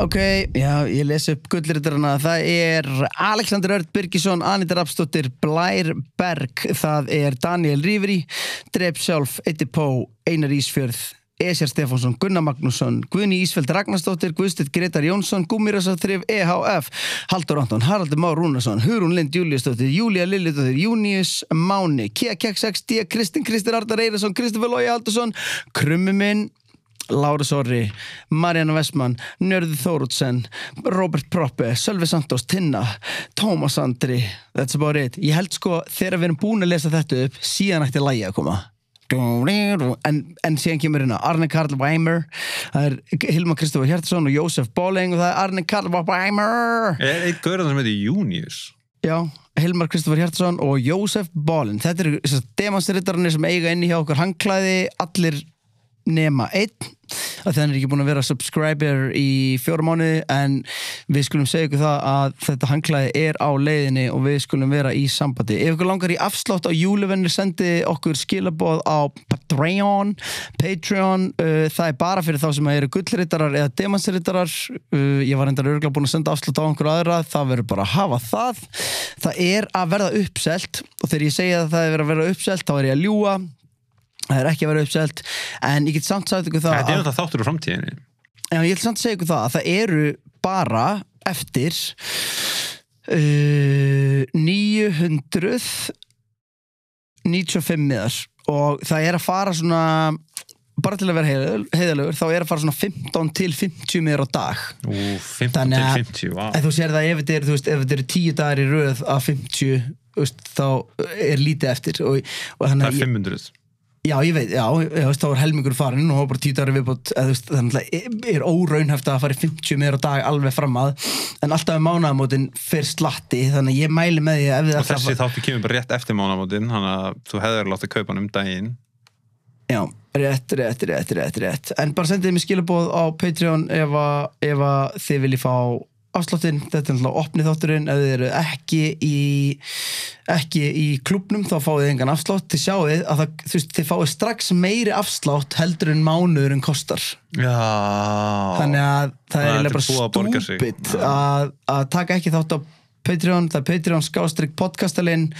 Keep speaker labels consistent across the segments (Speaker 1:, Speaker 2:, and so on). Speaker 1: Ok, já, ég les upp gullritarana. Það er Alexander Örd Birgisson, Anita Rapsdóttir, Blær Berg, það er Daniel Rífri, Dreip Sjálf, Eddi Pó, Einar Ísfjörð, Esjar Stefánsson, Gunnar Magnússon, Guðni Ísfeld Ragnarsdóttir, Guðstedt Gretar Jónsson, E Gúmirasathrif, EHF, Haldur Anton, Haraldur Már Rúnarsson, Hurun Lind Júliusdóttir, Júlia Lilliðdóttir, Június Máni, Kia Keks XD, Kristinn Kristir Artar Eirarsson, Kristofur Lói Haldursson, Krummi minn, Lárus Orri, Mariana Vestmann, Njörður Þórutsen, Robert Proppe, Sölvi Santos, Tinna, Tómas Andri, that's about it. Ég held sko þegar við erum búin að lesa þetta upp, síðan ætti lægi að koma. En, en síðan kemur hérna Arne Karl Weimer, það er Hilma Kristofur Hjartarsson og Jósef Bóling og það er Arne Karl Weimer.
Speaker 2: Er eitt gaurðan sem heitir Június?
Speaker 1: Já, Hilmar Kristoffer Hjartarsson og Jósef Bálin. Þetta eru demansrittarnir sem eiga inni hjá okkur hangklæði, allir nema einn. Þannig er ekki búin að vera subscriber í fjóra mánuði en við skulum segja ykkur það að þetta hangklæði er á leiðinni og við skulum vera í sambandi. Ef ykkur langar í afslátt á júluvennir sendi okkur skilaboð á Patreon, Patreon uh, það er bara fyrir þá sem eru gullrittarar eða demansrittarar. Uh, ég var endar örgulega búin að senda afslátt á einhverju aðra, það verður bara að hafa það. Það er að verða uppselt og þegar ég segja að það er að verða uppselt þá er ég að ljúa það er ekki að vera uppselt en ég get samt sagt ykkur það
Speaker 2: Þetta er
Speaker 1: að,
Speaker 2: náttúrulega þáttur úr framtíðinni.
Speaker 1: já, ég get samt segja ykkur það að það eru bara eftir uh, 995 miðar og það er að fara svona bara til að vera heiðal- heiðalegur þá er að fara svona 15 til 50 miðar á dag
Speaker 2: Ú, 15
Speaker 1: Þannig
Speaker 2: til
Speaker 1: að-
Speaker 2: 50, vá.
Speaker 1: En þú sér það ef þetta eru, þú veist, ef þetta eru tíu dagar í röð af 50 þú veist, þá er lítið eftir og, og þannig
Speaker 2: Það
Speaker 1: að
Speaker 2: er
Speaker 1: ég-
Speaker 2: 500.
Speaker 1: Já, ég veit, já, ég veist, þá var helmingur farin og það var bara tíu dagar viðbútt, þannig að er óraunhæft að það fari 50 meður á dag alveg fram að, en alltaf um mánaðamótin fyrir slatti, þannig að ég mæli með því að ef þið
Speaker 2: Og
Speaker 1: ætlið að
Speaker 2: þessi þáttur kemur bara rétt eftir mánamótin, þannig að þú hefur látið að kaupa hann um daginn.
Speaker 1: Já, rétt, rétt, rétt, rétt, rétt En bara sendið mér skilabóð á Patreon ef, að- ef að þið viljið fá afsláttinn, þetta er náttúrulega opnið þátturinn ef þið eru ekki í ekki í klubnum þá fáið þið engan afslátt, þið sjáið að það, þú veist, þið fáið strax meiri afslátt heldur en mánuðurinn kostar
Speaker 2: Já.
Speaker 1: þannig að það
Speaker 2: Það
Speaker 1: er
Speaker 2: er
Speaker 1: eiginlega
Speaker 2: til búið
Speaker 1: bara
Speaker 2: að borga sig.
Speaker 1: stúpid
Speaker 2: Já.
Speaker 1: að, að taka ekki þátt á Patreon, það er Patreon skástrík podcastalinn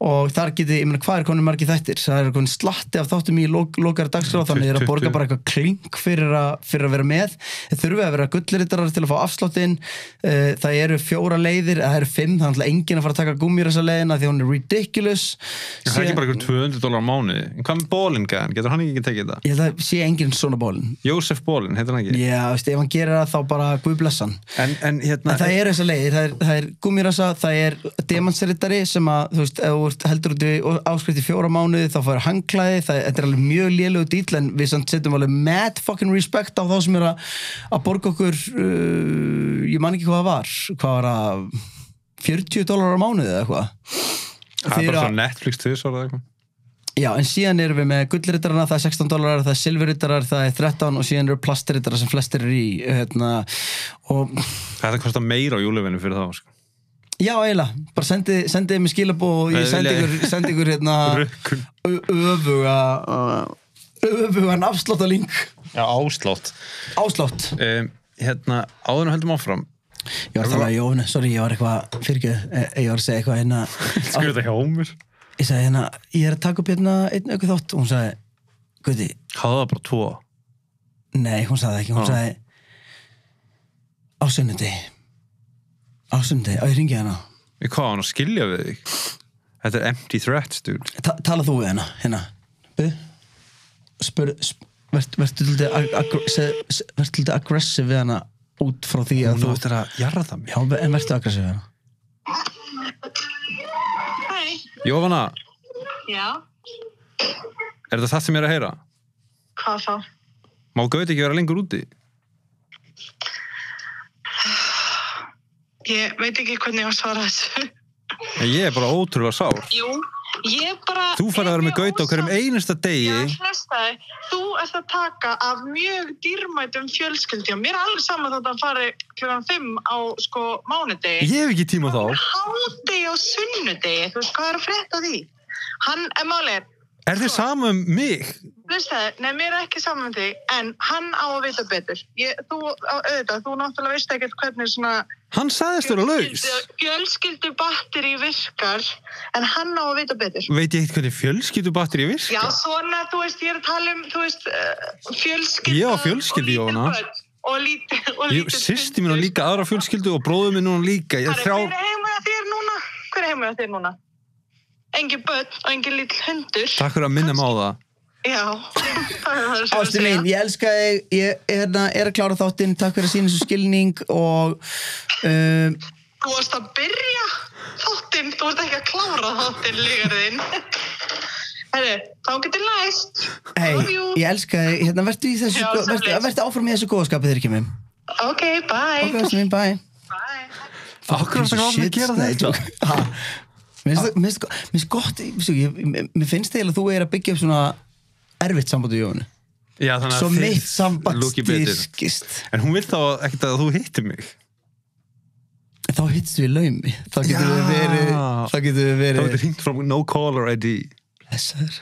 Speaker 1: og þar getið, ég meina hvað er konum margi þættir, það er konum slatti af þáttum í lok, lokara dagskrá, þannig að það er að
Speaker 2: 20.
Speaker 1: borga bara eitthvað klink fyrir, a, fyrir að vera með þeir þurfa að vera gullritarar til að fá afslottinn uh, það eru fjóra leiðir það eru fimm, þannig að enginn að fara að taka gúmjur þessa leiðina því að hún er ridiculous
Speaker 2: Það er ekki bara ykkur 200 dólar á mánuði. En hvað með Bólingan? Getur hann ekki tekið það?
Speaker 1: ég held að sé enginn svona bólin
Speaker 2: Jósef Bólin, heitir hann ekki?
Speaker 1: já, veist, ef hann gerir það þá bara guð bless hann
Speaker 2: En, en hérna...
Speaker 1: En það eru þessar leiðir, það er, það er gúmirasa, það er demansrittari sem að, þú veist, ef þú ert heldur út við áskrift í fjóra mánuði þá fara hangklæði, það þetta er alveg mjög lélegu dýl en við samt setjum alveg mad fucking respect á þá sem er að, að borga okkur, uh, ég man ekki hvað það var, hvað var að 40 dólar á mánuði eða eitthvað.
Speaker 2: Það
Speaker 1: Þið
Speaker 2: er
Speaker 1: eru
Speaker 2: bara
Speaker 1: að-
Speaker 2: svona Netflix tvisvar eða eitthvað.
Speaker 1: Já, en síðan erum við með gullritarana, það er 16 dólarar, það er silfurritarar, það er 13 og síðan eru plastritarar sem flestir eru í, hérna, og
Speaker 2: Þetta kostar meira á júluvinu fyrir þá, sko.
Speaker 1: Já, eiginlega, bara sendi, sendiði mér skilabóð og ég sendi
Speaker 2: Eðlilega.
Speaker 1: ykkur, sendi ykkur hérna
Speaker 2: Rukkun.
Speaker 1: ö- öfuga öfugan afslátt að link
Speaker 2: Já, áslátt.
Speaker 1: áslátt
Speaker 2: Um, hérna, áður en höldum áfram.
Speaker 1: Ég var að tala í Jónu, sorry, ég var eitthvað fyrirgjöð, ég var að segja eitthvað hérna
Speaker 2: Skur þetta hjá mér?
Speaker 1: ég sagði hérna, ég er að taka upp hérna einn auku þátt og hún sagði, guði,
Speaker 2: Háða bara tvo.
Speaker 1: nei, hún sagði það ekki hún
Speaker 2: Ah.
Speaker 1: sagði á sunnudegi á sunnudegi, og ég ringi hérna
Speaker 2: Ég hvað á hann að skilja við þig? Þetta er empty threats, dude.
Speaker 1: Ta tala þú við hérna, hérna Bið. spur, sp vert, vertu til þetta aggressiv við hana út frá því að
Speaker 2: Þú
Speaker 1: þú
Speaker 2: ættir að jarða það mér.
Speaker 1: já, en vertu aggressiv við hana
Speaker 3: Hæ,
Speaker 2: Jófana,
Speaker 3: já,
Speaker 2: er þetta það sem ég er að heyra?
Speaker 3: hvað þá?
Speaker 2: Má Gauti ekki vera lengur úti?
Speaker 3: Ég veit ekki hvernig ég var að svara þessu.
Speaker 2: En ég er bara ótrúlega sár.
Speaker 3: Jú, ég bara...
Speaker 2: Þú færði að vera með Gauti á hverjum einasta
Speaker 3: Já,
Speaker 2: degi.
Speaker 3: hlestaði, þú ert að taka af mjög dýrmætum fjölskyldjum. Mér er alveg saman þótt að hann fari klukkan 5 á sko mánudegi.
Speaker 2: Ég hef ekki tíma þá.
Speaker 3: Hádegi á sunnudegi, þú veist hvað er að frétta af því? Hann, en málið, er,
Speaker 2: Er þið sama um mig?
Speaker 3: Hlustaði, nei, mér er ekki saman um þig, en hann á að vita betur. Ég, þú, á- auðvitað, þú náttúrulega veist ekkert hvernig svona...
Speaker 2: Hann sagðist vera laus.
Speaker 3: Fjölskyldu batteri virkar, en hann á að vita betur.
Speaker 2: Veit ég eitthvað hvernig fjölskyldubatteri
Speaker 3: Já,
Speaker 2: virka?
Speaker 3: svona, þú veist, ég er að tala um, þú veist, uh, fjölskyldu...
Speaker 2: Ég á fjölskyldu, Jóhanna.
Speaker 3: Og lítið, börn, og
Speaker 2: Ég,
Speaker 3: lítið...
Speaker 2: sýsti mín á líka aðra fjölskyldu og bróðu mín núna líka. Ég,
Speaker 3: Herri, Hver
Speaker 2: þrjá,
Speaker 3: er heimur að þér núna? Hver er heimur að þér núna? Engin börn og engin lítill hundur.
Speaker 2: takk fyrir að minna mig á það.
Speaker 3: Já, það er það sem
Speaker 1: Ástu mín, ég elska þig, ég ég, hérna, er að klára þáttinn, takk fyrir að sína þessu skilning og um,
Speaker 3: Þú varst að byrja þáttinn, þú varst ekki að klára þáttinn lígar þinn. Herri, þá getur læst.
Speaker 1: hei,
Speaker 3: Love you.
Speaker 1: ég elska þig, hérna, verður í þessu,
Speaker 3: Já,
Speaker 1: gó- vertu,
Speaker 3: sömuleiðis.
Speaker 1: vertu áfram í þessu góðskapið þeir ekki með.
Speaker 3: Ok, bye.
Speaker 1: Ok, ástu mín, bye.
Speaker 3: Bye.
Speaker 2: Akkur er það gafin að gera þetta?
Speaker 1: sko. Mér finnst gott, veistu, ég- mér finnst eiginlega að þú er að byggja upp svona erfitt samband í jónu.
Speaker 2: Já, þannig
Speaker 1: Svo
Speaker 2: þið
Speaker 1: mitt samband
Speaker 2: lúkið betur.
Speaker 1: styrkist.
Speaker 2: En hún vil þá ekkert að þú hittir mig.
Speaker 1: Þá hittst við laumi. Þá getur við
Speaker 2: Já.
Speaker 1: verið, þá getur við
Speaker 2: Þá er
Speaker 1: verið,
Speaker 2: þetta hringt frá no caller ID.
Speaker 1: þessar.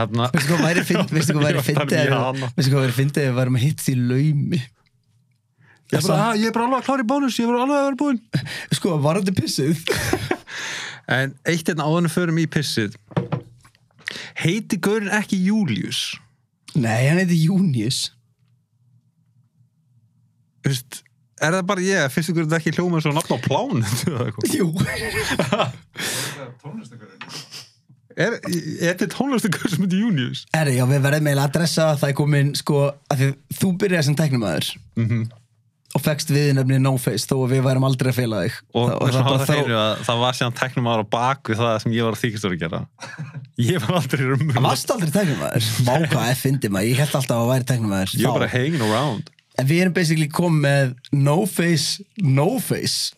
Speaker 2: Þarna,
Speaker 1: Veistu hvað væri fyndið Veistu hvað væri
Speaker 2: Ég var
Speaker 1: fyndið
Speaker 2: bara
Speaker 1: ef-
Speaker 2: mjög hana.
Speaker 1: Veistu hvað væri fyndið ef við varum að hitt því laumi
Speaker 2: ég, er bara, "Ah, ég er bara alveg að klára í bónus, ég er bara alveg að vera búinn.
Speaker 1: Sko, varandi pissið
Speaker 2: En eitt enn áðan að förum í pissið. Heiti gaurinn ekki Július?
Speaker 1: Nei, hann heiti Június
Speaker 2: Þú veist, er það bara ég? Fyrstu gaurinn ekki hljóma svo nafn á plán?
Speaker 1: Jú
Speaker 2: er, er þetta tónlistu gaur sem heitir Július?
Speaker 1: Erri, já, við verðum eiginlega að adressa það Það er komin, sko að því, Þú byrjar sem tæknumæður mm
Speaker 2: Mhm.
Speaker 1: Og fegst við nefni No Face Þó að við værum aldrei að fela þig
Speaker 2: Og,
Speaker 1: Þa-
Speaker 2: og það,
Speaker 1: bara
Speaker 2: það, það, að, það var síðan teknum ára bak við það sem ég var að þykist að gera. Ég var aldrei rumur.
Speaker 1: Það varst aldrei tæknumæður Má hvað ég fyndi maður Ég held alltaf að væri tæknumæður
Speaker 2: Ég var bara
Speaker 1: þá.
Speaker 2: hanging around.
Speaker 1: En við erum basically komið með No Face, No Face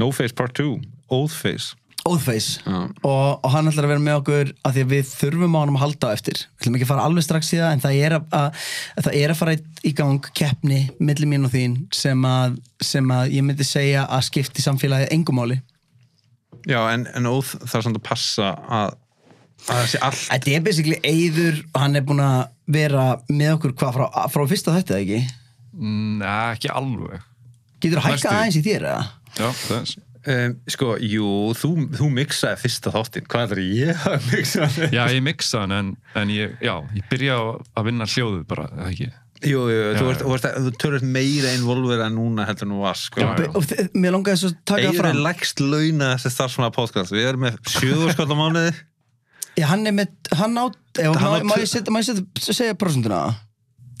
Speaker 2: No Face Part 2. Old Face.
Speaker 1: Oathface
Speaker 2: Já.
Speaker 1: og, og hann ætlar að vera með okkur af því að við þurfum á hann að halda á eftir við ætlum ekki að fara alveg strax í það en það er að, að, að, það er að fara í- í gang keppni millir mín og þín sem að, sem að ég myndi segja að skipti samfélagið engumáli
Speaker 2: Já, en, en Oath þarf samt að passa að, að það sé allt.
Speaker 1: Þetta er basically Eyður og hann er búin að vera með okkur hvað frá, frá fyrsta þetta ekki
Speaker 4: Nei, Mm, eh, ekki alveg.
Speaker 1: Getur að
Speaker 4: Næstu.
Speaker 1: hækka aðeins í þér eða?
Speaker 4: Já, þess.
Speaker 2: Um, sko, jú, þú, þú mixaði fyrsta þáttinn. Hvað er ég að mixa þetta?
Speaker 4: Já, ég mixa hann, en, en ég, já, ég byrja á að vinna hljóðu bara, eða ekki.
Speaker 2: Jú, jú, jú, þú,
Speaker 4: Já,
Speaker 2: veist,
Speaker 4: já.
Speaker 2: þú, veist, þú tölur meira involver en núna heldur nú var, sko.
Speaker 4: Já, já.
Speaker 1: Og þið- Mér langaði svo að taka það
Speaker 2: Eir er
Speaker 1: fram
Speaker 2: lægst launa þessi starfsmanna podcast. Við erum með sjöður skall á mánuði.
Speaker 1: Ég, Hann er með, hann á, ef,
Speaker 2: Hann á
Speaker 1: má, má
Speaker 2: tvö-
Speaker 1: ég setja, má ég setja, segja prosentuna það?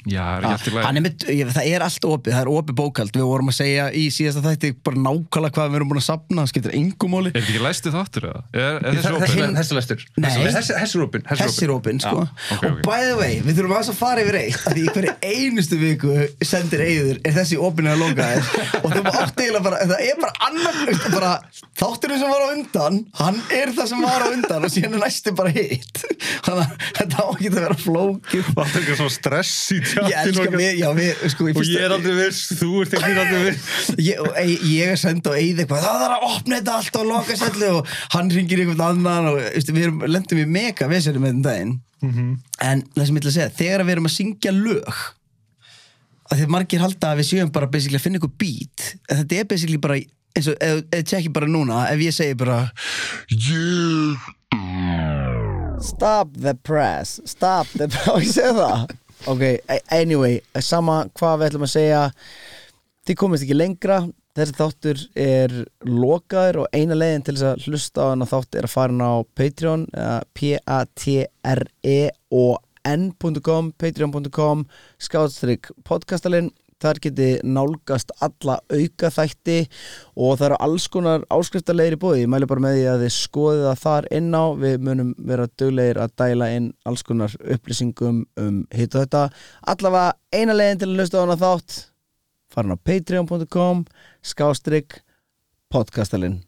Speaker 4: Já, það er ekki allt í
Speaker 1: Ah, hann
Speaker 4: lagi.
Speaker 1: er með, ég, það er allt opið, það er opið bókald við vorum að segja í síðasta þætti bara nákvæmlega hvað við erum búin að sapna, það skiptir engum máli
Speaker 4: Er þetta ekki læstu þáttur eða? Er, er þessi
Speaker 2: Þessi
Speaker 4: opið?
Speaker 2: hinn- þessi lestur.
Speaker 1: Nei.
Speaker 2: Þessi rúpin.
Speaker 1: þessi er opið, sko
Speaker 4: ok,
Speaker 1: og
Speaker 4: ok.
Speaker 1: by the way, við þurfum aðeins að fara yfir eitt af því í hverju einustu viku sendir eiður er þessi opið að loka þér og þú átti eiginlega bara, það er bara annar bara, þátturinn sem var á undan hann er það sem var á undan og síðan er næstu bara hitt þannig að þetta á ekki að vera flókið
Speaker 2: Það er eitthvað svona stress í
Speaker 1: ég elska
Speaker 2: tjattinu.
Speaker 1: mig, já við, sko í
Speaker 2: Og
Speaker 1: fyrsta-
Speaker 2: ég er aldrei viss, þú ert ekki aldrei viss.
Speaker 1: ég, og ei- ég er send og eigið eitthvað það þarf að opna þetta allt og loka sællu og hann ringir einhvern annan og veistu, við erum, lendum í mega vesenum með þetta daginn en það sem ég ætla að segja, þegar við erum að syngja lög að því margir halda að við séum bara basically að finna ykkur beat en þetta er basically bara eins og, eða eð tjekki bara núna, ef ég segi bara
Speaker 5: Stop the press Stop the press Og ég segi það Ok, a- anyway, sama hvað við ætlum að segja Þið komist ekki lengra Þessi þáttur er lokaður og eina leiðin til þess að hlusta á hann að þátt er að fara hann á Patreon eða E p-a-t-r-e-o-n.com patreon.com skáðstrykk podcastalinn þar geti nálgast alla auka þætti og það eru alls konar áskriftarlegir í bóði, ég mæli bara með því að þið skoðið það þar inn á, við munum vera duglegir að dæla inn alls konar upplýsingum um hitt og þetta allavega eina leiðin til að hlusta á hana þátt farin á patreon.com skástrygg podcastalinn